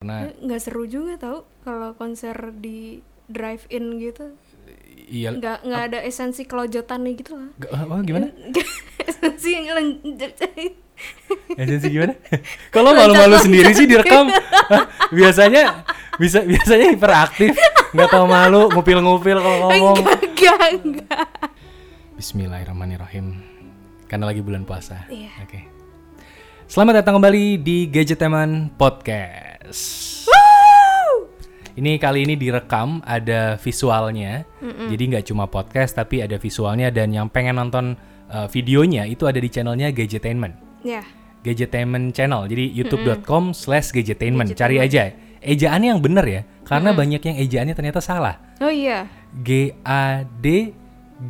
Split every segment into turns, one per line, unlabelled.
karena
nggak seru juga tau kalau konser di drive in gitu
iya
nggak nggak ada esensi kelojotannya gitu lah
G- apa gimana
esensi yang len-
esensi eh, gimana kalau malu-malu sendiri sih direkam Hah, biasanya bisa biasanya hiperaktif nggak tahu malu ngupil-ngupil kalau ngomong
enggak enggak enggak
Bismillahirrahmanirrahim karena lagi bulan puasa
Iya.
oke selamat datang kembali di Gadgeteman Podcast Ini kali ini direkam ada visualnya, jadi nggak cuma podcast tapi ada visualnya dan yang pengen nonton uh, videonya itu ada di channelnya Gadgetainment,
ya
Gadgetainment channel. Jadi youtube.com slash Gadgetainment, cari aja ejaannya yang bener ya, karena banyak yang ejaannya ternyata salah.
oh iya
G A D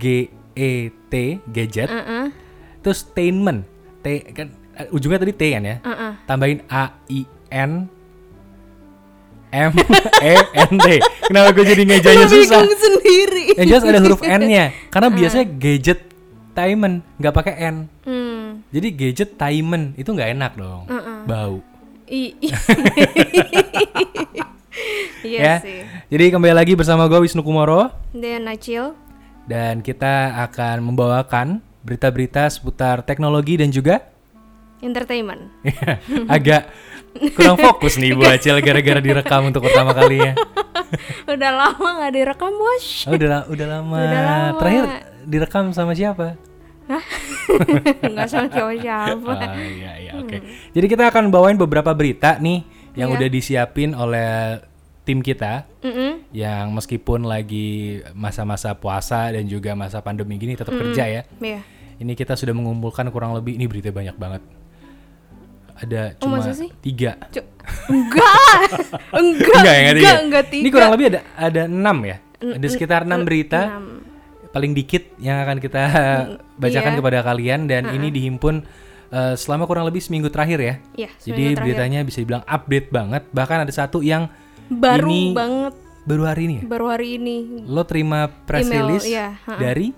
G E T gadget,
uh
terus tainment, T kan eh, ujungnya tadi T kan ya,
Uh-uh.
tambahin A I N M E N T. Kenapa gue jadi ngejanya susah?
bingung sendiri
Yang jelas ada huruf N-nya, karena biasanya gadget tainment nggak pakai N.
hmm
Jadi gadget tainment itu nggak enak dong, bau.
i i- iya
Ya.
sih
Jadi kembali lagi bersama gue Wisnu Kumoro.
dan Nacil
dan kita akan membawakan berita-berita seputar teknologi dan juga
entertainment
agak kurang fokus nih Bu Acil gara-gara direkam untuk pertama kalinya.
udah lama nggak direkam bos
Oh, udah, la- udah lama.
Udah lama.
Terakhir direkam sama siapa?
nggak sama siapa siapa
Ah, iya iya oke.
Hmm.
Jadi kita akan bawain beberapa berita nih
Iya.
yang udah disiapin oleh tim kita yang meskipun lagi masa-masa puasa dan juga masa pandemi gini tetap kerja ya.
Iya.
Ini kita sudah mengumpulkan kurang lebih ini berita banyak banget. Ada
Oh,
cuma
masa sih?
tiga.
Cuk, enggak, enggak, enggak,
ya,
enggak,
tiga.
tiga.
Ini kurang lebih ada ada enam ya. Ada sekitar enam berita. Paling dikit yang akan kita
Hmm, iya.
bacakan kepada kalian dan ini dihimpun eh, selama kurang lebih seminggu terakhir ya.
Iya,
Jadi
seminggu terakhir.
beritanya bisa dibilang update banget. Bahkan ada satu yang
baru
ini-
banget,
baru hari ini. ya.
baru hari ini
Lo terima press
Email,
release
iya, ha-ha.
dari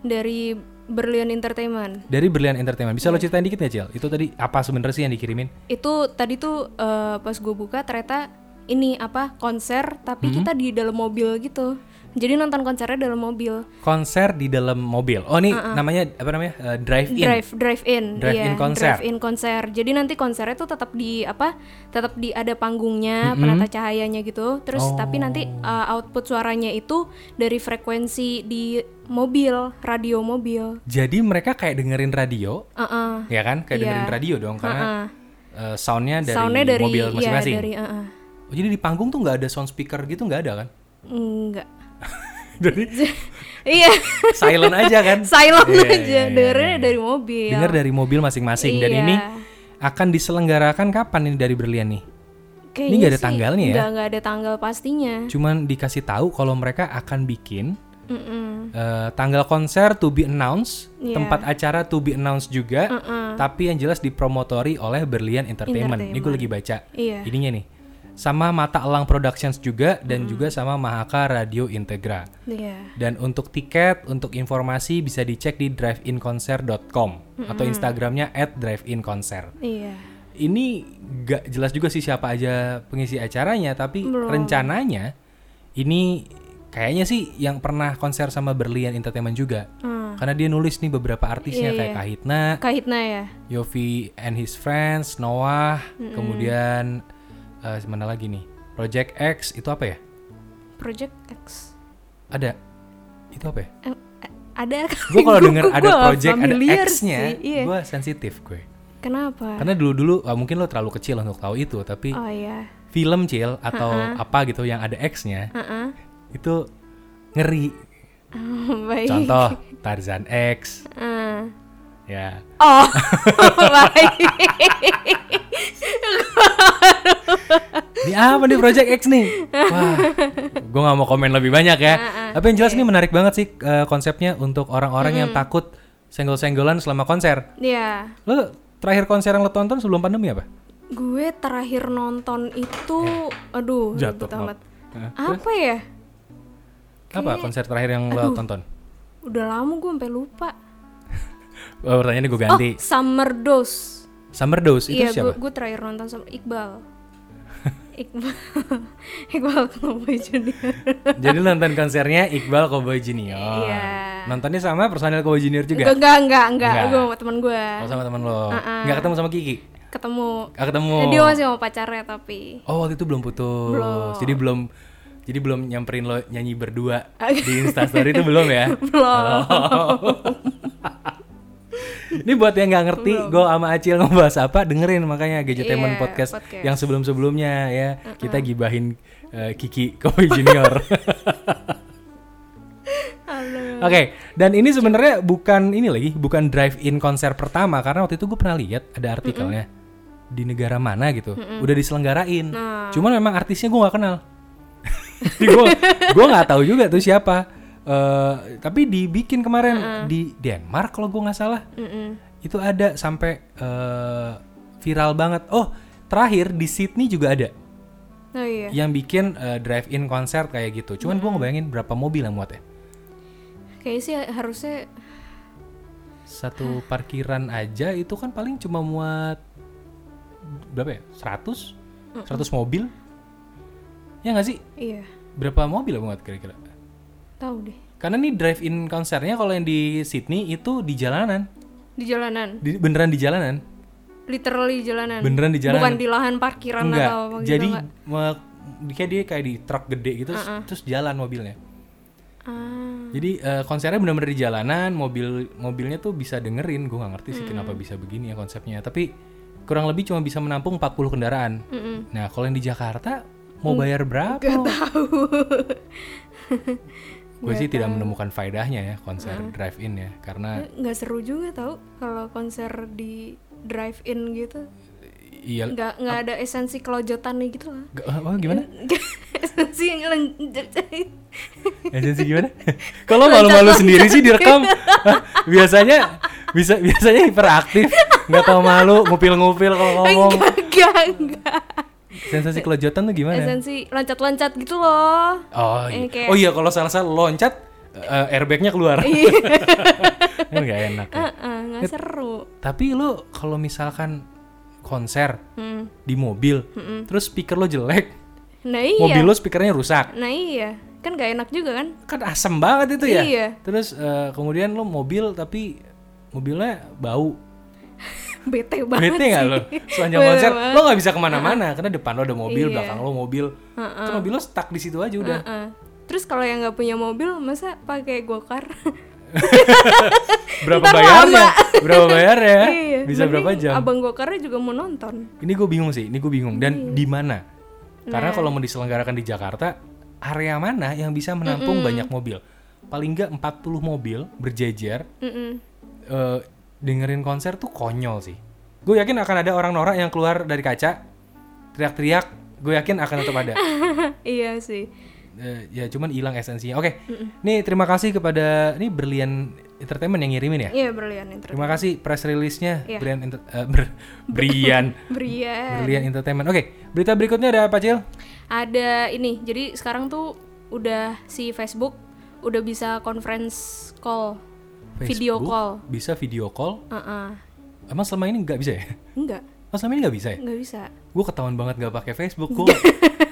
dari Berlian Entertainment.
dari Berlian Entertainment. Bisa lo
Iya.
ceritain dikit nggak, Cil? Itu tadi apa sebenarnya sih yang dikirimin?
Itu tadi tuh eh, pas gue buka ternyata ini apa konser tapi kita di dalam mobil gitu. Jadi nonton konsernya dalam mobil.
konser di dalam mobil. Oh ini namanya apa namanya? eh, drive in.
Drive drive in,
Drive in konser.
drive in konser. Jadi nanti konsernya tuh tetap di apa? Tetap di ada panggungnya, penata cahayanya gitu. Terus
Oh.
tapi nanti eh, output suaranya itu dari frekuensi di mobil, radio mobil. Uh-uh.
Jadi mereka kayak dengerin radio,
Heeh.
ya kan? Kayak dengerin radio dong karena eh, soundnya Ah, dari
Iya. Uh. Soundnya dari
mobil
iya,
masing-masing.
dari uh-uh.
Oh, jadi di panggung tuh nggak ada sound speaker gitu nggak ada kan?
enggak.
jadi
iya,
silent aja kan?
silent
Iya,
aja.
iya, iya,
Dengernya
iya.
dari mobil.
Dengar dari mobil masing-masing dan
Iya.
ini akan diselenggarakan kapan ini dari Berlian nih?
Kayaknya
ini nggak ada
sih
tanggalnya ya?
Nggak, nggak ada tanggal pastinya.
Cuman dikasih tahu kalau mereka akan bikin
Mm-mm.
Eh, tanggal konser to be announced,
Iya.
tempat acara to be announced juga, tapi yang jelas dipromotori oleh Berlian Entertainment. Ini gue lagi baca
Iya.
ininya nih, sama Mata Elang Productions juga dan juga sama Mahaka Radio Integra.
Iya.
Dan untuk tiket, untuk informasi bisa dicek di driveinkonser.com atau Instagramnya @driveinkonser.
Iya.
Ini gak jelas juga sih siapa aja pengisi acaranya, tapi rencananya ini kayaknya sih yang pernah konser sama Berlian Entertainment juga.
Uh. Ah.
Karena dia nulis nih beberapa artisnya
Iya,
kayak Kahitna,
Kahitna ya.
Yofi and his friends, Noah, kemudian eh, mana lagi nih? Project X itu apa ya?
Project X.
Ada itu apa ya?
Eh, a- ada
Gue kalau
Gua-
denger
gua-
ada
gua
project ada
familiar sih,
X-nya,
Iya.
gue sensitif gue.
Kenapa?
Karena dulu-dulu ah, mungkin lo terlalu kecil untuk tahu itu, tapi
Oh iya.
film cil atau apa gitu yang ada X-nya
Heeh.
itu ngeri.
Baik.
Contoh Tarzan X,
Eh.
ya.
Oh, baik.
Ini apa nih Project X nih? Wah, gue nggak mau komen lebih banyak ya. Tapi yang
Iya.
jelas ini menarik banget sih eh, konsepnya untuk orang-orang yang takut senggol-senggolan selama konser.
Iya.
Lo terakhir konser yang lo tonton sebelum pandemi apa?
Gue terakhir nonton itu, aduh,
Ya. Jatuh,
ribet amat.
Hah?
Apa ya?
Apa konser terakhir yang lo tonton?
Udah lama gue sampai lupa.
Oh, pertanyaannya gue ganti.
Summer Dose.
Summer Dose itu
Iya,
siapa?
gue terakhir nonton sama Iqbal. Iqbal Iqbal Cowboy Junior
Jadi lu nonton konsernya Iqbal Cowboy Junior.
Iya.
Nontonnya sama personil Cowboy Junior
enggak
juga.
enggak enggak enggak
Enggak.
gue sama temen gue
Oh, sama teman lo.
Uh-uh.
Nggak ketemu sama Kiki.
ketemu
Nggak ketemu.
dia masih mau pacarnya tapi
Oh, waktu itu belum putus.
Belum.
Jadi belum jadi belum nyamperin lo nyanyi berdua di Instastory itu belum ya?
belum
Oh. Ini buat yang nggak ngerti, gue sama Acil ngebahas apa, dengerin makanya Gadgetemen
Iya,
podcast,
podcast.
yang sebelum-sebelumnya ya kita gibahin eh, Kiki Kopi Junior. Oh. Oke, dan ini sebenarnya bukan ini lagi, bukan drive-in konser pertama karena waktu itu gue pernah lihat ada artikelnya di negara mana gitu, udah diselenggarain. Cuman memang artisnya gue nggak kenal. Jadi gue gue nggak tahu juga tuh siapa. Eh, tapi dibikin kemarin di Denmark kalau gue nggak salah,
Mm-mm.
itu ada sampai eh, viral banget. Oh, terakhir di Sydney juga ada
oh iya
yang bikin eh, drive-in konser kayak gitu. Cuman gue ngebayangin berapa mobil yang muatnya.
kayaknya sih harusnya
satu parkiran aja itu kan paling cuma muat berapa ya? 100? 100 mobil? Ya nggak sih?
iya
Berapa mobil yang muat kira-kira?
tahu deh
Karena nih drive-in konsernya kalau yang di Sydney itu di jalanan.
di jalanan
Di- beneran di jalanan.
literally jalanan
Beneran di jalanan.
bukan di lahan parkiran
Enggak.
atau apa gitu
Jadi
enggak.
me- kayak dia kayak di truk gede gitu terus- terus jalan mobilnya.
ah
Jadi eh, konsernya benar-benar di jalanan, mobil mobilnya tuh bisa dengerin. Gue nggak ngerti sih kenapa bisa begini ya konsepnya. Tapi kurang lebih cuma bisa menampung 40 kendaraan. Nah kalau yang di Jakarta mau bayar berapa? Gue sih tidak menemukan faedahnya ya konser drive-in ya, karena
Eh, nggak seru juga tau kalau konser di drive in gitu
iya.
nggak nggak ada esensi kelojotan nih gitu lah
G- apa, gimana?
esensi yang len-
Agensi gimana? Kalau malu-malu sendiri sih direkam. Hah, biasanya bisa biasanya hiperaktif, nggak tahu malu, ngupil-ngupil kalau ngomong.
enggak enggak enggak
Sensasi kelojotan tuh gimana?
esensi loncat-loncat gitu loh
Oh
Yang
iya.
kayak-
Oh iya kalau salah-salah loncat eh, airbagnya keluar.
Iya.
Kan nggak enak. ya.
Heeh, nggak seru
Tapi lo kalau misalkan konser
Hmm.
di mobil, terus speaker lo jelek,
nah iya
mobil lo speakernya rusak,
nah iya kan nggak enak juga kan
kan asem banget itu ya.
Iya.
Terus eh, kemudian lo mobil tapi mobilnya bau.
bete banget
Bete nggak lo? Sepanjang
Bete
konser
banget.
lo nggak bisa kemana-mana karena depan lo ada mobil,
Iya.
belakang lo mobil. Kan mobil lo stuck di situ aja udah.
Heeh. terus kalau yang nggak punya mobil masa pakai gokar
Berapa
Ntar
bayarnya?
lama.
Berapa bayarnya?
Iya,
Bisa berapa
mending
jam?
abang gokarnya juga mau nonton
Ini gue bingung sih, ini gue bingung.
Iya.
Dan di mana? Karena
Nah.
kalau mau diselenggarakan di Jakarta, area mana yang bisa menampung banyak mobil? Paling nggak 40 mobil berjejer
Mm-mm.
eh, dengerin konser tuh konyol sih. Gue yakin akan ada orang norak yang keluar dari kaca teriak-teriak. Gue yakin akan tetap ada.
iya sih
Eh, ya cuman hilang esensinya. Oke, nih terima kasih kepada ini Berlian Entertainment yang ngirimin ya.
iya berlian internet
Terima kasih press release-nya
Iya.
Brian Enter- eh, Ber- Brian
Brian
Berlian Entertainment. Oke, berita berikutnya ada apa, Cil?
ada ini jadi sekarang tuh udah si Facebook udah bisa conference call video
Facebook
call
Bisa video call.
Heeh.
Emang selama ini nggak bisa ya?
enggak
Emang selama ini nggak bisa ya?
enggak bisa
Gue ketahuan banget nggak pakai Facebook. Gue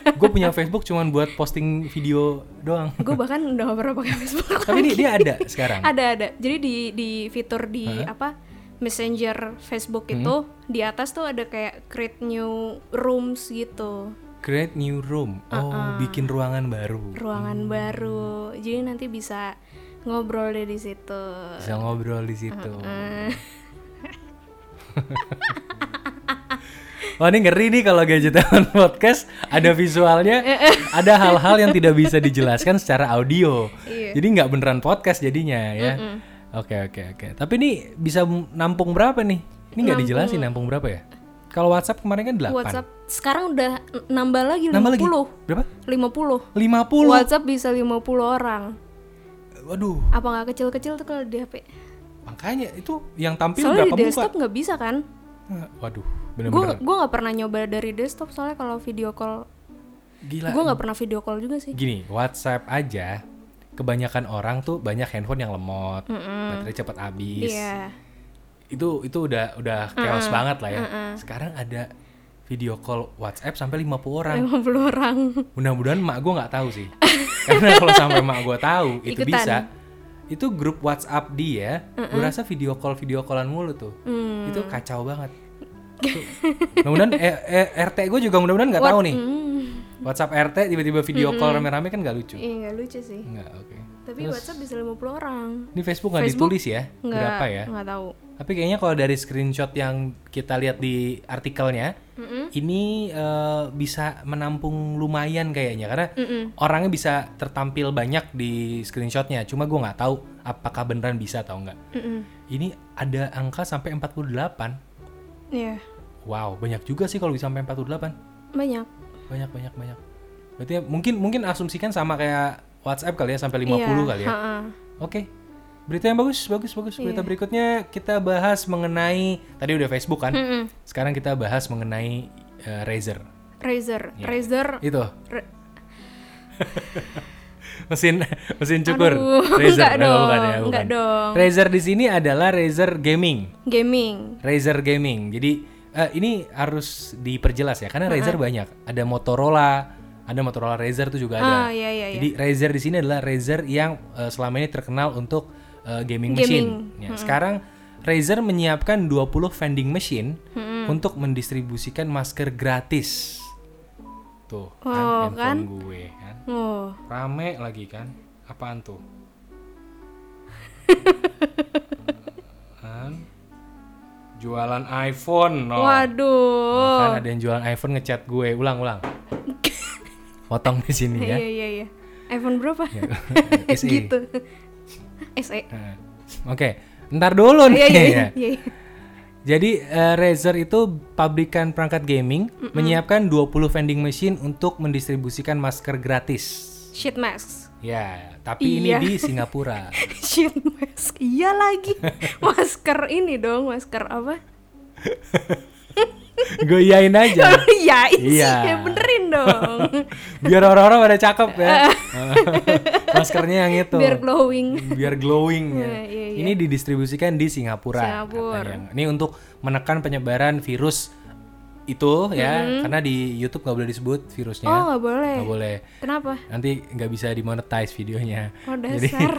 gue punya Facebook cuman buat posting video doang.
gue bahkan udah gak pernah pakai Facebook
Tapi ini dia ada sekarang.
ada ada jadi di di fitur di apa Messenger Facebook
Hmm?
itu di atas tuh ada kayak create new rooms gitu
Create new room. Oh,
Uh-uh.
bikin ruangan baru.
ruangan baru jadi nanti bisa ngobrol deh di situ
Bisa ngobrol di situ. Wah Oh, ini ngeri nih kalau gadgetan podcast ada visualnya, ada hal-hal yang tidak bisa dijelaskan secara audio.
Iya.
Jadi nggak beneran podcast jadinya ya. Oke oke oke. Tapi ini bisa m- nampung berapa nih? Ini nggak dijelasin nampung berapa ya? Kalau WhatsApp kemarin kan 8.
WhatsApp sekarang udah n- nambah lagi 50
Nambah lagi. Berapa?
50
50.
WhatsApp bisa 50 orang.
Waduh,
Apa nggak kecil-kecil tuh kalau di HP?
makanya itu yang tampil
Soalnya
berapa
di
muka?
desktop nggak bisa kan?
Eh, Waduh,
Gue
bener-bener
gua nggak pernah nyoba dari desktop soalnya kalau video call,
gila.
gue nggak pernah video call juga sih.
gini WhatsApp aja kebanyakan orang tuh banyak handphone yang lemot baterai cepat habis
Iya.
itu itu udah udah chaos banget lah ya sekarang ada video call WhatsApp sampai 50 orang.
50 orang
Mudah-mudahan mak gue nggak tahu sih. Karena kalau sampai mak gue tahu itu
Ikutan.
bisa. Itu grup WhatsApp dia, gue rasa video call video callan mulu tuh.
Mm.
Itu kacau banget. Itu- mudah-mudahan eh, eh, RT gue juga mudah-mudahan nggak tahu nih.
hmm.
WhatsApp RT tiba-tiba video call rame-rame kan nggak lucu.
Iya nggak lucu sih
Nggak, oke.
Tapi WhatsApp bisa 50 orang
Ini Facebook nggak
Facebook?
ditulis ya?
Nggak,
Berapa ya?
Nggak tahu
Tapi kayaknya kalau dari screenshot yang kita lihat di artikelnya, ini eh, bisa menampung lumayan kayaknya karena orangnya bisa tertampil banyak di screenshotnya. Cuma gue nggak tahu apakah beneran bisa atau nggak.
Mm-mm.
Ini ada angka sampai 48.
Iya
Wow, banyak juga sih kalau bisa sampai 48.
Banyak
Banyak banyak banyak. Berarti ya mungkin mungkin asumsikan sama kayak WhatsApp kali ya sampai 50
Iya,
kali ya.
ha-ha.
Oke. Berita yang bagus, bagus, bagus. Berita
Iya.
berikutnya kita bahas mengenai tadi udah Facebook kan.
Mm-mm.
Sekarang kita bahas mengenai eh, Razer.
Razer
Iya.
Razer
Itu
Ra-
mesin mesin cukur.
Aduh,
Razer.
enggak
Nah,
dong,
bukan ya, bukan.
enggak dong.
Razer di sini adalah Razer Gaming.
Gaming
Razer Gaming. Jadi eh, ini harus diperjelas ya karena Razer banyak. Ada Motorola, ada Motorola Razer tuh juga ada.
Ah iya iya iya
Jadi Razer di sini adalah Razer yang eh, selama ini terkenal untuk eh, gaming, machine. Ya, Sekarang Razer menyiapkan 20 vending machine untuk mendistribusikan masker gratis. Tuh, kan
Oh,
handphone gue kan.
Oh
Rame lagi kan. Apaan tuh? Kan? Jualan iPhone, no.
Waduh
Kan ada yang jualan iPhone ngechat gue. Ulang, ulang. Potong di sini ya.
Iya iya iya iPhone berapa?
Iya. SE.
gitu SE
Nah, Oke, ntar dulu nih.
Iya iya iya, iya
Jadi eh, Razer itu pabrikan perangkat gaming menyiapkan 20 vending machine untuk mendistribusikan masker gratis.
Sheet mask
Ya, tapi ini
Iya.
di Singapura.
Sheet mask Iya lagi Masker ini dong Masker apa?
Gue iyain aja.
Iya sih
Ya. Iya.
ya benerin dong
Biar orang-orang pada cakep ya. Maskernya yang itu.
Eh. Biar glowing
Biar glowing ya.
Nah, iya, iya.
Ini didistribusikan di Singapura.
Singapura.
katanya. Ini untuk menekan penyebaran virus itu ya, karena di YouTube nggak boleh disebut virusnya.
Oh nggak boleh
Iya. Nggak boleh.
Kenapa?
nanti nggak bisa dimonetize videonya.
Oh
Jadi
dasar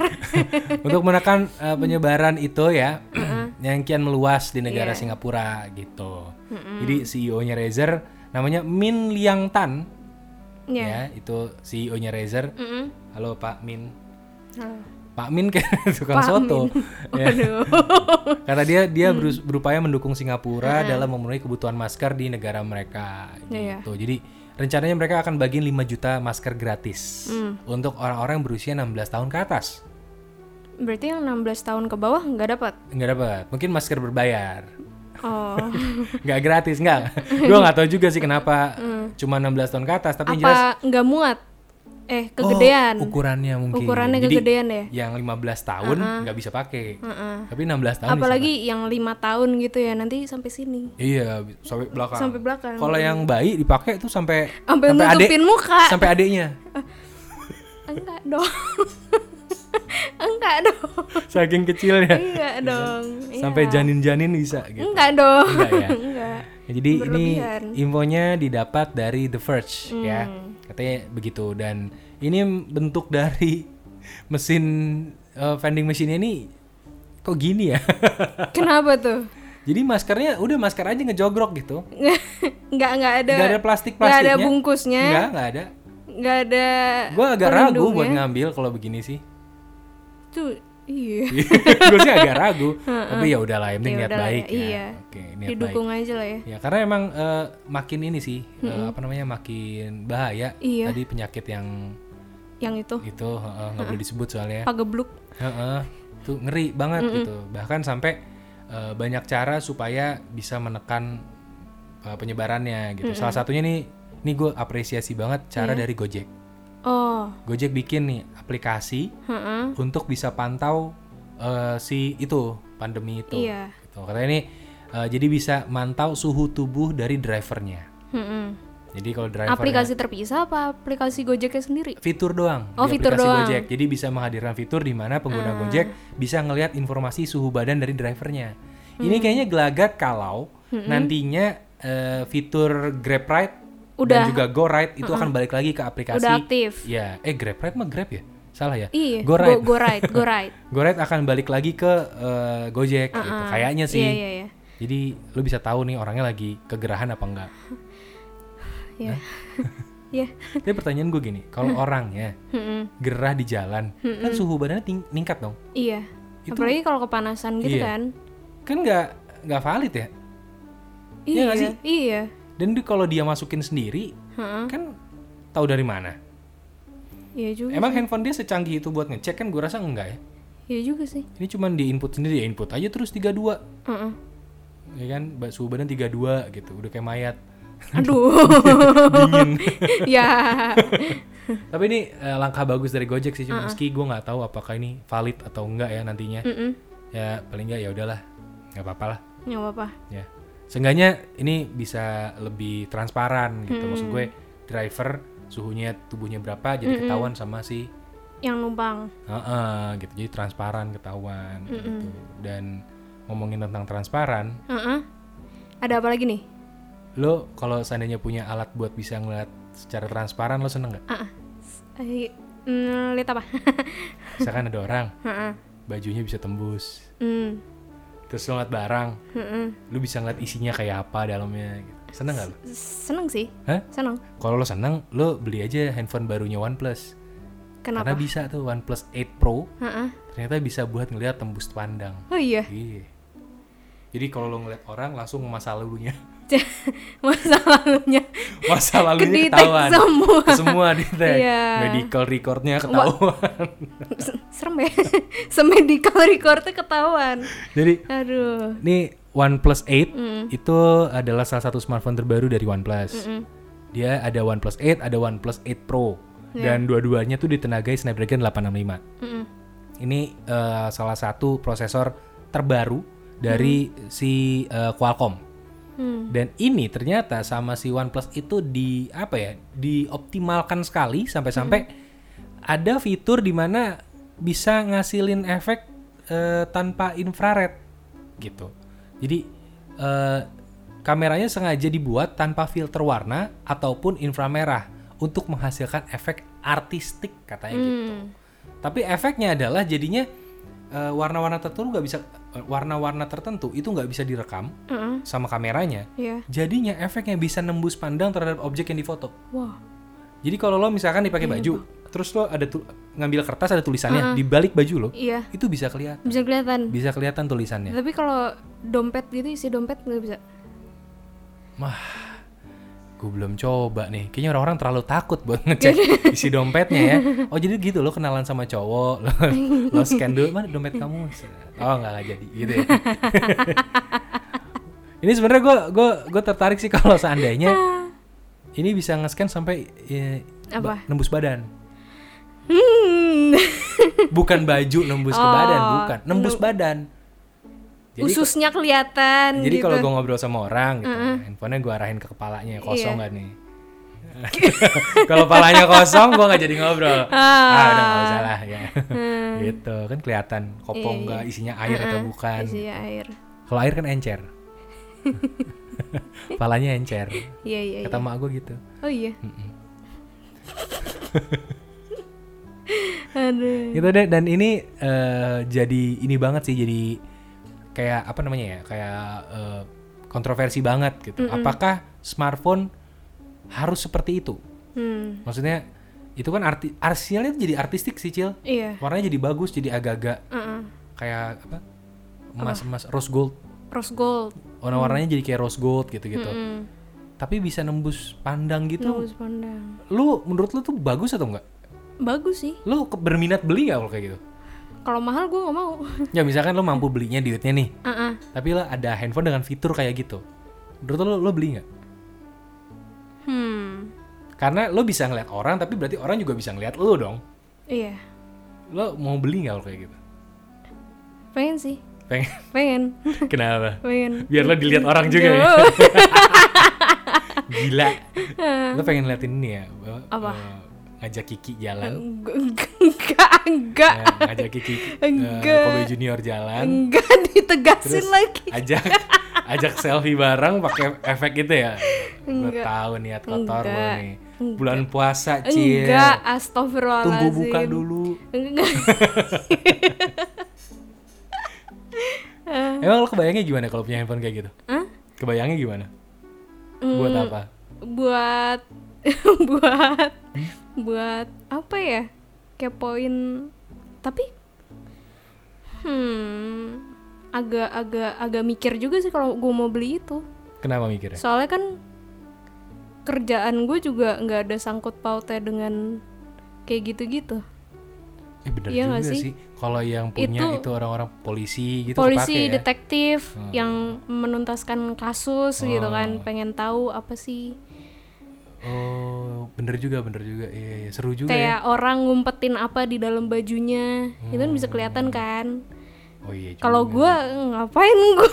untuk menekan eh, penyebaran itu ya yang kian meluas di negara
Iya.
Singapura gitu. Jadi CEO-nya Razer namanya Min Liang Tan
Iya
ya, itu CEO-nya Razer.
Mm-mm.
Halo Pak Min.
Halo.
Pak Min kan tukang
Pak Hmm.
soto. Ya,
Aduh
karena dia dia berus- berupaya mendukung Singapura dalam memenuhi kebutuhan masker di negara mereka gitu.
Iya.
Jadi rencananya mereka akan bagiin 5 juta masker gratis
Hmm.
untuk orang-orang yang berusia 16 tahun ke atas.
Berarti yang 16 tahun ke bawah nggak dapat
Nggak dapat. Mungkin masker berbayar.
Oh
Nggak gratis, nggak. Gue nggak tahu juga sih kenapa cuma 16 tahun ke atas, tapi yang jelas
Hmm. Apa nggak muat? Eh
oh,
kegedean
ukurannya mungkin.
Ukurannya
Jadi,
kegedean ya?
Yang 15 tahun nggak bisa pakai. Tapi 16 tahun bisa.
Apalagi yang lima tahun gitu ya nanti sampai sini
Iya, sampai belakang.
sampai belakang
Kalau yang bayi dipakai tuh sampai
sampai nutupin muka
sampai adiknya.
enggak dong enggak dong
Saking kecilnya.
enggak dong Iya.
Sampai janin-janin bisa gitu.
enggak dong
Enggak ya?
enggak
Ya, Jadi
Mm, Berlebihan. Mm.
ini infonya didapat dari The Verge ya. Katanya begitu dan ini bentuk dari mesin eh, vending machine ini kok gini ya.
kenapa tuh
Jadi maskernya udah masker aja ngejogrok gitu.
enggak enggak ada
Nggak ada
enggak
plastik-plastiknya.
ada bungkusnya
Enggak, enggak ada.
enggak ada
Gue agak ragu buat
pelindungnya.
ngambil kalau begini sih.
tuh iya
gue sih agak ragu tapi ya udahlah yang penting
Ya
niat
udahlah
baik
ya,
ya
iya.
oke niat
didukung aja lah ya
baik ya karena emang eh, makin ini sih eh, apa namanya makin bahaya
Iya.
tadi penyakit yang
yang itu
itu eh, eh, nggak boleh disebut soalnya
pagebluk
Heeh, tuh ngeri banget gitu bahkan sampai eh, banyak cara supaya bisa menekan eh, penyebarannya gitu salah satunya nih ini gue apresiasi banget cara
Iya.
dari Gojek
oh
Gojek bikin nih aplikasi
heeh.
untuk bisa pantau eh, si itu pandemi itu.
Iya.
Gitu. Katanya ini eh, jadi bisa mantau suhu tubuh dari drivernya.
Heeh.
Jadi kalau driver
aplikasi terpisah apa aplikasi gojeknya sendiri
fitur doang
Oh,
di
fitur
aplikasi
doang. Ah.
Gojek. Jadi bisa menghadirkan fitur di mana pengguna Gojek bisa ngelihat
Hmm.
informasi suhu badan dari drivernya. Ini kayaknya gelagat kalau nantinya eh, fitur Grab Ride dan
Udah.
juga Go Ride itu akan balik lagi ke aplikasi.
Udah aktif.
Ya, eh Grab Ride mah Grab ya? Salah ya?
Iya,
Go Ride.
go right, go right.
Go Ride akan balik lagi ke eh, Gojek gitu. Kayaknya sih.
Iya, iya, iya.
Jadi lu bisa tahu nih orangnya lagi kegerahan apa enggak.
Iya. Iya.
Tapi pertanyaan gue gini, kalau orangnya
Mm-mm.
gerah di jalan, kan suhu badannya ting- ningkat dong.
Iya. Apalagi kalau kepanasan gitu
Iya.
kan.
Kan nggak nggak valid ya? Iya nggak sih?
Iya.
Dan di- kalau dia masukin sendiri,
Heeh.
kan tahu dari mana?
Iya juga.
Emang handphone dia secanggih itu buat ngecek kan gue rasa enggak ya.
Iya juga sih.
Ini cuman di input sendiri ya input aja terus 32
Heeh.
ya kan ba- suhu badan 32 gitu udah kayak mayat
Aduh.
dingin.
ya.
Tapi ini eh, langkah bagus dari Gojek sih cuma meski gue nggak tahu apakah ini valid atau enggak ya nantinya.
Mm-mm.
Ya paling enggak ya udahlah nggak apa-apa lah
Nggak apa-apa.
ya. Seenggaknya ini bisa lebih transparan gitu maksud gue driver suhunya tubuhnya berapa jadi ketahuan sama si
Yang numpang.
Heeh, gitu jadi transparan ketahuan gitu dan ngomongin tentang transparan
Heeh. Ada apa lagi nih?
lo kalau seandainya punya alat buat bisa ngeliat secara transparan lo seneng nggak
Eh, mm, lihat apa?
misalkan ada orang
Heeh.
bajunya bisa tembus
Mm.
terus lo ngeliat barang
Heeh.
lo bisa ngeliat isinya kayak apa dalamnya gitu. seneng nggak lo
Seneng sih.
Hah?
Seneng.
kalau lo seneng lo beli aja handphone barunya OnePlus karena
Kenapa?
bisa tuh OnePlus 8 Pro
Heeh.
ternyata bisa buat ngeliat tembus pandang
Oh iya.
iya jadi kalau lo ngeliat orang langsung masa lalunya
Masa lalunya
masa lalunya
Kedetek
ketahuan
semua.
semua detect
Iya.
medical recordnya ketahuan
se- serem ya. Semedical recordnya ketahuan.
jadi
Aduh.
ini OnePlus 8 itu adalah salah satu smartphone terbaru dari OnePlus dia ada OnePlus 8 ada OnePlus 8 Pro dan dua-duanya tuh ditenagai Snapdragon 865
Mm-mm.
ini eh, salah satu prosesor terbaru dari si eh, Qualcomm
Hmm.
dan ini ternyata sama si OnePlus itu di apa ya dioptimalkan sekali sampai-sampai ada fitur di mana bisa ngasilin efek eh, tanpa infrared gitu jadi eh, kameranya sengaja dibuat tanpa filter warna ataupun inframerah untuk menghasilkan efek artistik katanya gitu
Hmm.
tapi efeknya adalah jadinya eh, warna-warna tertentu nggak bisa warna-warna tertentu itu nggak bisa direkam
Heeh.
sama kameranya
Iya.
jadinya efeknya bisa nembus pandang terhadap objek yang difoto.
Wah.
Jadi kalau lo misalkan dipakai baju, terus lo ada tu- ngambil kertas ada tulisannya di balik baju lo,
Iya.
itu bisa kelihatan,
Bisa kelihatan.
bisa kelihatan tulisannya.
Tapi kalau dompet gitu isi dompet nggak bisa.
Gue belum coba nih, kayaknya orang-orang terlalu takut buat ngecek isi dompetnya ya. Oh jadi gitu lo kenalan sama cowok, lo, lo scan dulu mana dompet kamu? Oh nggak nggak jadi gitu ya. ini sebenarnya gue gue gue tertarik sih kalau seandainya ini bisa nge-scan sampai eh, ba- nembus badan.
Hmm.
bukan baju nembus ke
Oh,
badan bukan nembus badan jadi
Ususnya kelihatan
jadi
gitu.
kalau gue ngobrol sama orang gitu handphonenya gue arahin ke kepalanya kosong
Iya.
nggak nih kalau kepalanya kosong gue nggak jadi ngobrol ah udah nggak usah lah ya
Hmm.
gitu kan kelihatan
Iya,
kopong nggak isinya air
Ah,
atau bukan
Isinya Iya, air.
kalau air kan encer kepalanya encer
Iya iya. iya.
kata mak gue gitu
Oh iya. Aduh.
gitu deh dan ini eh, jadi ini banget sih jadi kayak apa namanya ya kayak eh, kontroversi banget gitu apakah smartphone harus seperti itu
Hmm.
maksudnya itu kan arti arsinya itu jadi artistik sih cil
Iya. Uh-uh.
warnanya jadi bagus jadi agak-agak
Heeh.
kayak apa emas emas rose gold
Rose gold.
warna warnanya jadi kayak rose gold gitu gitu
Hmm.
tapi bisa nembus pandang gitu
Bagus pandang.
lu menurut lu tuh bagus atau enggak
Bagus sih.
lu ke- berminat beli nggak kalau kayak gitu
Kalau mahal gue nggak mau. Uh-uh.
ya misalkan lu mampu belinya duitnya nih
Heeh.
tapi lo ada handphone dengan fitur kayak gitu menurut lo lo beli nggak
Hmm.
karena lo bisa ngeliat orang tapi berarti orang juga bisa ngeliat lo dong
Iya.
lo mau beli nggak kalau kayak gitu
Pengen sih.
pengen
Pengen.
kenapa
Pengen.
biar lo dilihat orang juga ya
Jauh.
gila lo pengen liatin ini ya eh,
Apa?
eh, ngajak Kiki jalan
Enggak, enggak,
eh, ngajak Kiki eh,
Enggak.
Kobe Junior jalan
enggak ditegasin
terus
lagi.
ajak ajak selfie bareng pakai efek itu ya gue
Enggak.
tahu niat kotor lo
Enggak.
nih bulan puasa cil
Enggak, astagfirullahaladzim.
tunggu buka dulu
Enggak.
emang lo kebayangnya gimana kalau punya handphone kayak gitu
Hah? Mm,
kebayangnya gimana buat
Hmm.
apa
Buat buat buat apa ya? Kepoin tapi hmm agak agak agak mikir juga sih kalau gue mau beli itu.
kenapa mikirnya
Soalnya kan kerjaan gue juga nggak ada sangkut pautnya dengan kayak gitu-gitu.
eh bener
iya
juga
nggak
sih,
sih?
kalau yang punya
Itu-
itu orang-orang polisi gitu
polisi
kepake ya.
detektif yang menuntaskan kasus gitu kan pengen tahu apa sih
oh bener juga bener juga iya, iya. seru juga ya
kayak orang ngumpetin apa di dalam bajunya itu kan
Hmm.
bisa kelihatan kan
oh iya juga.
kalau gua ngapain gua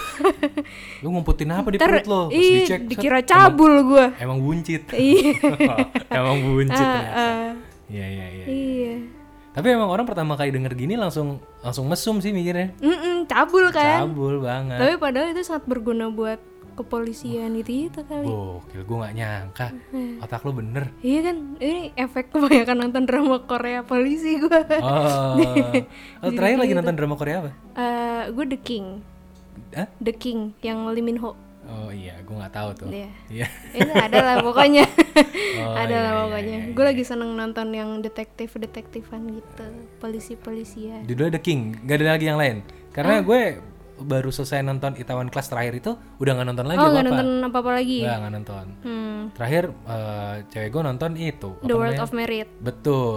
lu ngumpetin apa di
ntar
perut lo Terus
ih
dicek, set,
dikira cabul gua
emang, emang buncit
iya
emang buncit
Ah,
ternyata.
ah,
iya iya iya
iya
tapi emang orang pertama kali denger gini langsung langsung mesum sih mikirnya
Mm-mm, cabul kan
cabul banget
tapi padahal itu sangat berguna buat kepolisian gitu gitu kali
Gokil, gue gak nyangka Otak lu bener
iya kan ini efek kebanyakan nonton drama Korea polisi gua
Oh, Oh, Terakhir
gitu.
lagi nonton drama Korea apa?
Eh, gue The King,
Hah?
The King yang Lee Min Ho.
Oh iya, gue gak tahu tuh
Iya.
Iya
Itu ada lah pokoknya.
Oh,
ada
iya,
lah
iya,
pokoknya.
iya,
Gue lagi seneng nonton yang detektif-detektifan gitu, polisi-polisian.
Judulnya The King, gak ada lagi yang lain Karena
Ah.
gue baru selesai nonton Itaewon Class terakhir itu Udah gak nonton lagi
Oh, nggak
apa-apa
nonton apa-apa lagi?
Nggak, nggak nonton
Hmm,
Terakhir eh, cewek gue nonton itu apa
The World
namanya?
of Merit.
Betul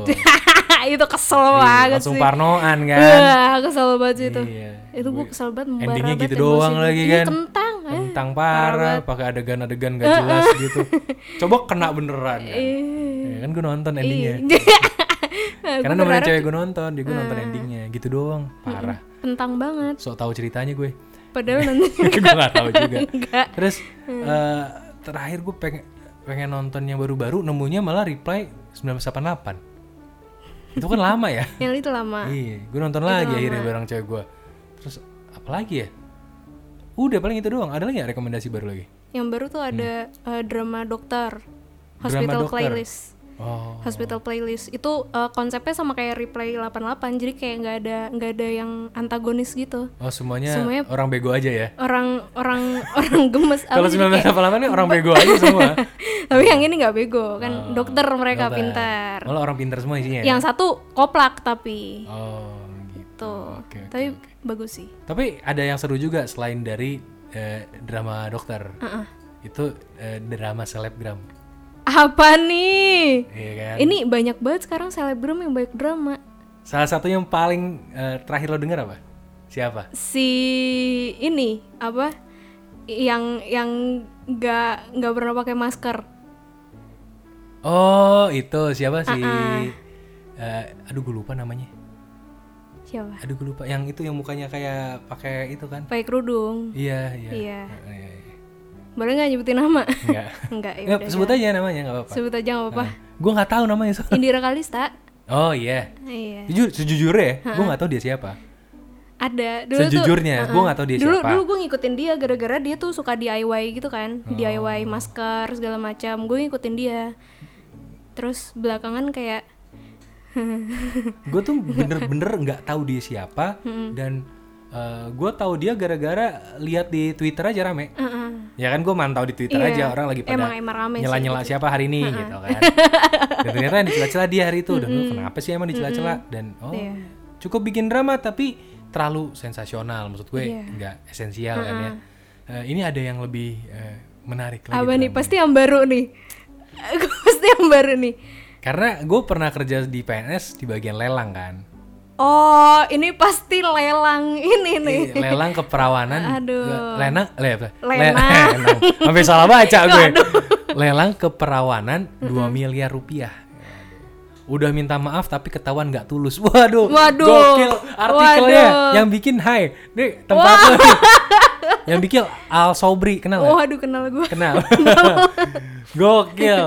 itu kesel
Iya,
banget
Langsung
sih.
parnoan kan
Wah, kesel banget sih itu.
Iya.
Itu gue kesel banget membara
Endingnya
banget
gitu
emosi
doang
gua.
lagi
Iya,
kan
kentang. ah.
Tentang parah, pakai adegan-adegan gak jelas gitu. Coba kena beneran kan.
Iya.
Ya kan gue nonton endingnya. Karena
Gua
namanya
berharap
cewek gue nonton, dia gue nonton endingnya. Gitu doang, parah.
kentang banget.
So tau ceritanya gue. Iya.
Padahal nanti
gue gak tau juga.
Enggak. Hmm.
Terus eh, terakhir gue pengen pengen nonton yang baru-baru nemunya malah reply 1988. Itu kan lama ya.
yang itu lama.
Iya, gue nonton lagi akhirnya bareng cewek gue. Terus apa lagi ya? Udah paling itu doang. Ada lagi nggak rekomendasi baru lagi?
Yang baru tuh ada eh, drama dokter,
Hmm. Drama
hospital
dokter.
playlist.
Oh,
Hospital playlist itu eh, konsepnya sama kayak replay 88 jadi kayak nggak ada nggak ada yang antagonis gitu.
oh semuanya,
Semuanya-
orang bego aja ya.
Orang orang orang gemes apa
Kalau
sih jadi kayak-
1988 ini orang bego aja semua.
tapi yang ini nggak bego kan dokter
Oh,
mereka
Dokter.
pintar.
Malah orang pintar semua isinya. ya?
Yang satu koplak tapi
Oh, gitu.
tuh.
Oke, oke,
tapi
oke.
bagus sih.
Tapi ada yang seru juga selain dari eh, drama dokter. Itu eh, drama selebgram,
Apa nih?
iya kan?
Ini banyak banget sekarang selebgram yang banyak drama.
Salah satu yang paling eh, terakhir lo denger apa? Siapa?
si ini apa yang yang nggak nggak pernah pakai masker
Oh itu siapa sih? Eh, aduh gue lupa namanya.
siapa
Aduh gue lupa. Yang itu yang mukanya kayak pakai itu kan?
pakai kerudung
Iya iya.
Iya.
Eh, iya, iya.
boleh nggak nyebutin nama
Enggak.
nggak ya
Nggak, Nah.
udah.
sebut aja namanya nggak apa-apa.
sebut aja nggak apa-apa
Gue nggak tahu namanya. so-
Indira Kalista
Oh iya.
iya
Jujur, sejujurnya ya, gue nggak tahu dia siapa.
ada dulu
Sejujurnya, gue nggak tahu dia
tuh dulu
siapa.
dulu gue ngikutin dia gara-gara dia tuh suka DIY gitu kan
Oh.
DIY masker segala macam gue ngikutin dia terus belakangan kayak
Gue tuh bener-bener nggak tahu dia siapa
Hmm.
dan gue tahu dia gara-gara lihat di Twitter aja rame. Ya kan gue mantau di Twitter aja orang lagi pada
Hmm. Iya. Emang- emang rame sih
nyela-nyela siapa hari ini gitu kan. dan ternyata yang dicela-cela dia hari itu dan lu kenapa sih emang dicela-cela dan oh cukup bikin drama tapi terlalu sensasional maksud gue nggak esensial kan ya. Eh, ini ada yang lebih eh, menarik lagi.
apa nih pasti yang baru nih pasti yang baru nih
Karena gue pernah kerja di PNS di bagian lelang kan.
Oh, ini pasti lelang ini nih.
Iya, lelang keperawanan
Aduh.
lelang le, apa? Le-
Lenang.
lenang. sampai salah baca gue lelang keperawanan 2 miliar rupiah udah minta maaf tapi ketahuan nggak tulus waduh
Waduh.
gokil artikelnya
Waduh.
yang bikin hai nih tempat lo nih. yang bikin Al Sobri kenal nggak?
Oh, aduh kenal gue.
kenal gokil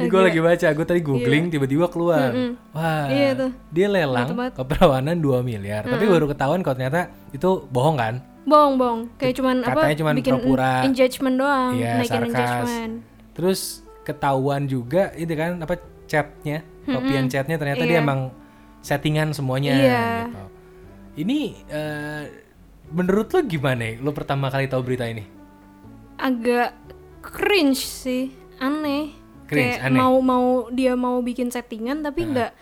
ini gue lagi baca gue tadi googling tiba-tiba keluar wah
Iya tuh.
dia lelang keperawanan 2 miliar tapi baru ketahuan kalau ternyata itu bohong kan
bohong bohong kayak cuman apa
Katanya cuman
bikin
pura-pura.
engagement doang
Iya,
naikin
sarkas.
engagement
Terus ketahuan juga itu kan apa chatnya, kopian chatnya ternyata dia
Iya.
emang settingan semuanya.
Iya.
gitu. Ini eh, menurut lo gimana? ya? Lo pertama kali tahu berita ini?
agak cringe sih aneh
Cringe,
kayak
aneh. Nah.
mau mau dia mau bikin settingan tapi nggak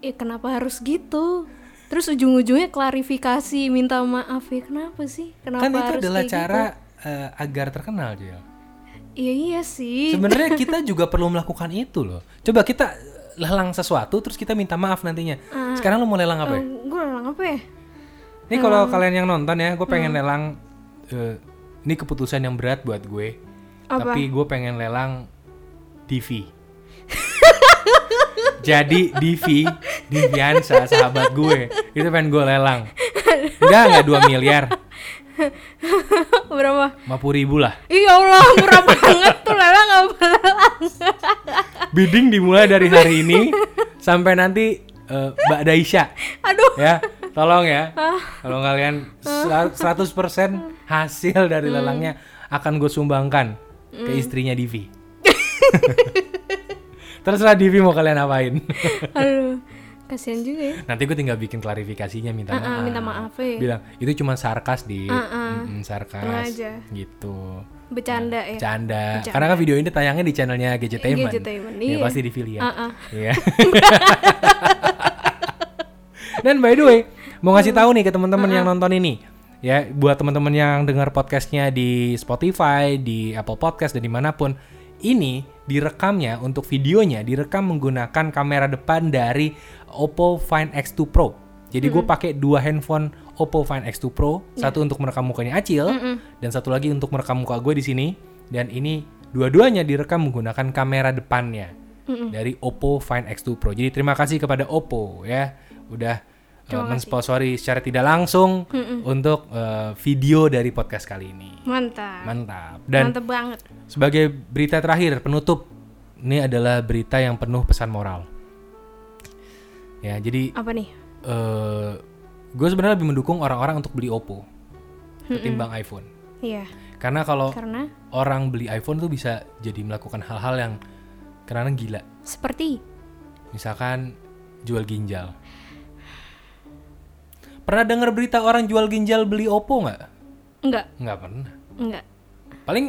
ya kenapa harus gitu terus ujung-ujungnya klarifikasi minta maaf ya kenapa sih kenapa
kan itu
harus
adalah
kayak
cara
gitu?
eh, agar terkenal, Jel.
iya iya sih
Sebenarnya kita juga perlu melakukan itu loh. Coba kita lelang sesuatu terus kita minta maaf nantinya.
Ah.
Sekarang lo mau lelang apa? ya?
gue apa ya
Ini kalau kalian yang nonton ya, gue pengen lelang. eh, ini keputusan yang berat buat gue.
Apa?
Tapi gue pengen lelang TV. Jadi Divi, Diviansa sahabat gue, itu pengen gue lelang. Enggak, enggak 2 miliar,
berapa
50 ribu lah.
Iya Allah murah banget tuh lelang apa lelang
Bidding dimulai dari hari ini sampai nanti eh, Mbak Daisya.
aduh
ya tolong ya
Ah.
kalau kalian sera- 100% hasil dari
Hmm.
lelangnya akan gue sumbangkan ke istrinya Divi terserah Divi mau kalian apain
aduh kasihan juga ya
nanti gue tinggal bikin klarifikasinya minta
Ah, ah,
maaf
minta maaf Ah, ya.
bilang itu cuma sarkas di sarkas
Sengaja.
gitu
bercanda ya
Canda.
Bercanda.
Karena kan video ini tayangnya di channelnya Gadgetainment.
Gadgetainment,
Ya,
iya.
pasti di Vili ya.
Ah, ah.
Iya. Dan by the way, mau ngasih tahu nih ke teman-teman yang nonton ini. Ya, buat teman-teman yang dengar podcastnya di Spotify, di Apple Podcast dan dimanapun, ini direkamnya untuk videonya direkam menggunakan kamera depan dari Oppo Find X2 Pro. Jadi gue pakai dua handphone Oppo Find X2 Pro, satu untuk merekam mukanya Acil dan satu lagi untuk merekam muka gue di sini. Dan ini dua-duanya direkam menggunakan kamera depannya dari Oppo Find X2 Pro. Jadi terima kasih kepada Oppo ya udah eh, mensponsori secara tidak langsung untuk eh, video dari podcast kali ini.
mantap
Mantap. Dan
mantap banget
sebagai berita terakhir penutup ini adalah berita yang penuh pesan moral. Ya, jadi
apa nih
eh gue sebenarnya lebih mendukung orang-orang untuk beli Oppo ketimbang iPhone.
iya
Karena kalau
karena
orang beli iPhone tuh bisa jadi melakukan hal-hal yang karena gila.
seperti
Misalkan jual ginjal. Pernah dengar berita orang jual ginjal beli Oppo nggak?
enggak
Nggak pernah.
enggak
Paling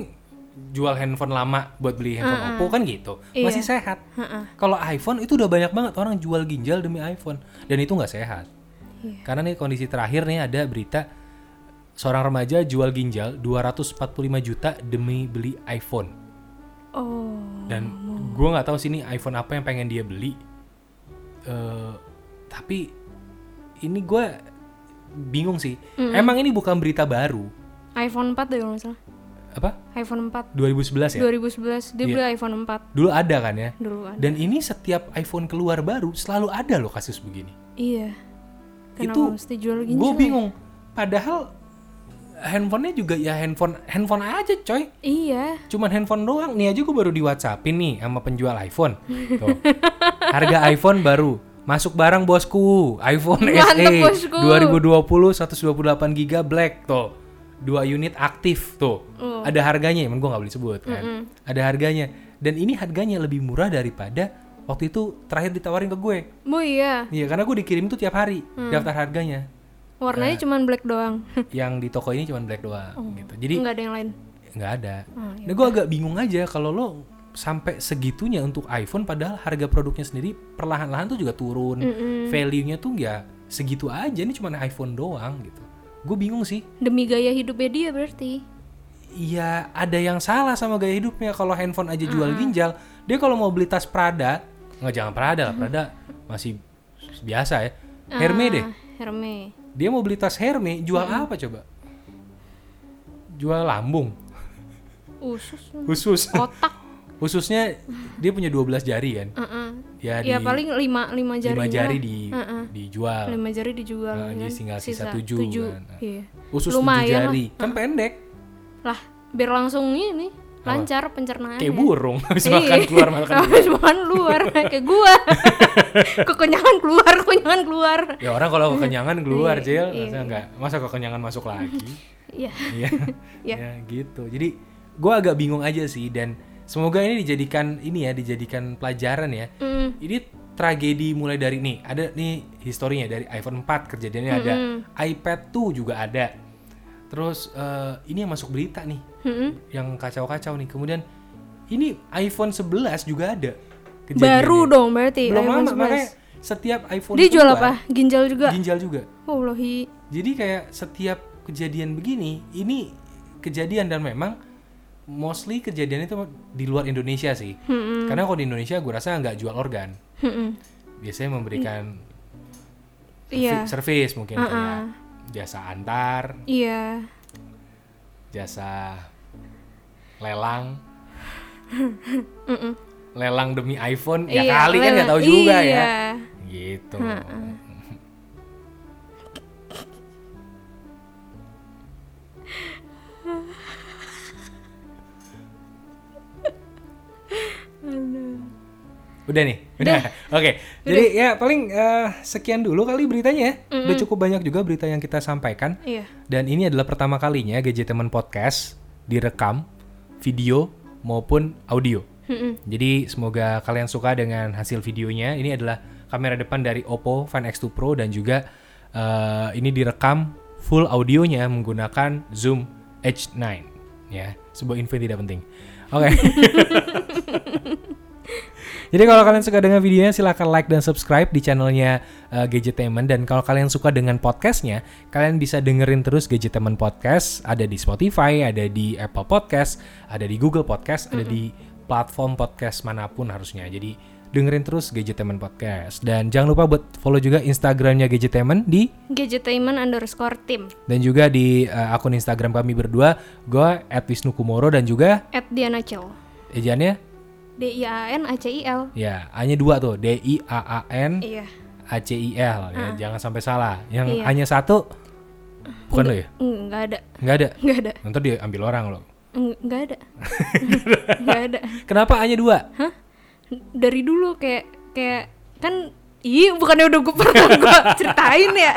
jual handphone lama buat beli handphone Oppo kan gitu.
Iya.
Masih sehat. Kalau iPhone itu udah banyak banget orang jual ginjal demi iPhone dan itu nggak sehat.
Iya.
Karena nih kondisi terakhir nih ada berita seorang remaja jual ginjal 245 juta demi beli iPhone.
oh
dan gue nggak tahu sih ini iPhone apa yang pengen dia beli Eh, tapi ini gue bingung sih emang ini bukan berita baru
iPhone 4 deh kalau nggak salah
apa
iPhone 4
2011 ya
2011 dia beli iPhone 4
dulu ada kan ya
dulu kan
dan ini setiap iPhone keluar baru selalu ada loh kasus begini
iya kenapa
Itu
mesti jual ginjal
gue
ya?
bingung padahal handphonenya juga ya handphone handphone aja coy
iya
cuman handphone doang nih aja gue baru di WhatsAppin nih sama penjual iPhone Tuh. harga iPhone baru masuk barang bosku iPhone E.
Mantep,
SE
bosku.
2020 128 GB Black tuh dua unit aktif tuh
Oh.
ada harganya emang gue nggak boleh sebut kan ada harganya dan ini harganya lebih murah daripada waktu itu terakhir ditawarin ke gue
bu iya
iya karena gue dikirim tuh tiap hari
Mm.
daftar harganya
warnanya
Nah.
cuman black doang
yang di toko ini cuma black doang gitu jadi
Oh. nggak ada yang lain
nggak ada. Nah gue agak bingung aja kalau lo sampai segitunya untuk iPhone padahal harga produknya sendiri perlahan-lahan tuh juga turun. Value-nya tuh ya segitu aja ini cuma iPhone doang gitu. Gue bingung sih.
demi gaya hidupnya dia berarti
Iya ada yang salah sama gaya hidupnya kalau handphone aja jual ginjal. Dia kalau mau beli tas Prada, nggak jangan Prada lah, Prada masih biasa ya. Hermes deh.
Ah, Hermes
Dia mau beli tas Hermes, jual apa coba? Jual lambung,
usus
khusus.
kotak
khususnya dia punya 12 jari kan
Heeh.
ya,
ya
di
paling lima lima jari
lima jari di dijual
lima jari dijual
Nah, jadi
kan?
tinggal sisa tujuh kan.
iya.
usus tujuh
Lumayan lah.
jari kan pendek
lah biar langsung ini lancar pencernaan
Kayak burung habis
Iya.
makan keluar makan.
habis makan keluar kayak gua kekenyangan keluar kekenyangan keluar
Ya orang kalau kekenyangan keluar,
Iya,
Jel.
iya.
Masa enggak? Masa kekenyangan masuk lagi?
iya
Iya. Ya gitu. Jadi gue agak bingung aja sih dan semoga ini dijadikan ini ya dijadikan pelajaran ya.
Mm,
Ini tragedi mulai dari nih ada nih historinya dari iPhone 4 kejadiannya ada, iPad 2 juga ada. Terus eh, ini yang masuk berita nih,
mm-mm.
yang kacau-kacau nih. Kemudian ini iPhone 11 juga ada. kejadiannya.
baru dong berarti
belum
iPhone
lama
11.
makanya setiap iPhone
dia jual
keluar,
apa ginjal juga
Ginjal juga.
Wallahi
Jadi kayak setiap kejadian begini, ini kejadian dan memang mostly kejadian itu di luar Indonesia sih. Karena kalau di Indonesia gue rasa nggak jual organ,
Mm-mm.
biasanya memberikan
iya
service mungkin
Uh-uh.
kayak jasa antar,
iya
jasa lelang,
Mm-mm.
lelang demi iPhone ya
Iya,
kali kan nggak
lelang.
tahu juga
Iya.
ya, gitu. Udah nih, udah. Oke. Jadi ya paling eh, sekian dulu kali beritanya. ya. Udah cukup banyak juga berita yang kita sampaikan.
iya
Dan ini adalah pertama kalinya GJ Teman Podcast direkam video maupun audio.
Mm-mm.
Jadi semoga kalian suka dengan hasil videonya. Ini adalah kamera depan dari Oppo Find X2 Pro dan juga eh, ini direkam full audionya menggunakan Zoom H9 ya. Sebuah info yang tidak penting. Oke. Jadi kalau kalian suka dengan videonya silahkan like dan subscribe di channelnya uh, Gadgetainment dan kalau kalian suka dengan podcastnya kalian bisa dengerin terus Gadgetainment Podcast ada di Spotify, ada di Apple Podcast, ada di Google Podcast, ada di platform podcast manapun harusnya. Jadi dengerin terus Gadgetainment Podcast dan jangan lupa buat follow juga Instagramnya Gadgetainment di
gadgetainment underscore team
dan juga di uh, akun Instagram kami berdua gue at Wisnu Kumoro dan juga
at Diana Cil
ejaannya
D I A N A C I L
ya hanya dua tuh D I A A N
iya
ACIL ya, jangan sampai salah. Yang
Ah. Iya.
hanya satu bukan lo ya?
nggak ada
Nggak ada.
nggak ada
Nanti diambil orang lo.
Eng- nggak ada nggak ada
Kenapa hanya dua?
hah dari dulu kayak kayak kan Ih, bukannya udah gue pernah gue ceritain ya?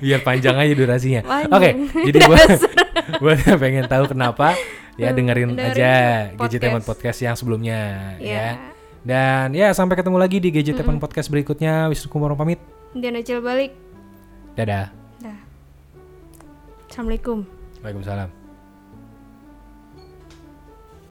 Biar panjang aja durasinya.
Panjang.
Oke, jadi buat buat yang pengen tahu kenapa ya dengerin,
dengerin
aja
podcast.
Gadgeteman podcast yang sebelumnya
Iya.
ya. Dan ya sampai ketemu lagi di Gadgeteman podcast berikutnya. Wisnu Kumoro pamit.
Diana Cil balik.
Dadah.
Dah. Assalamualaikum.
Waalaikumsalam.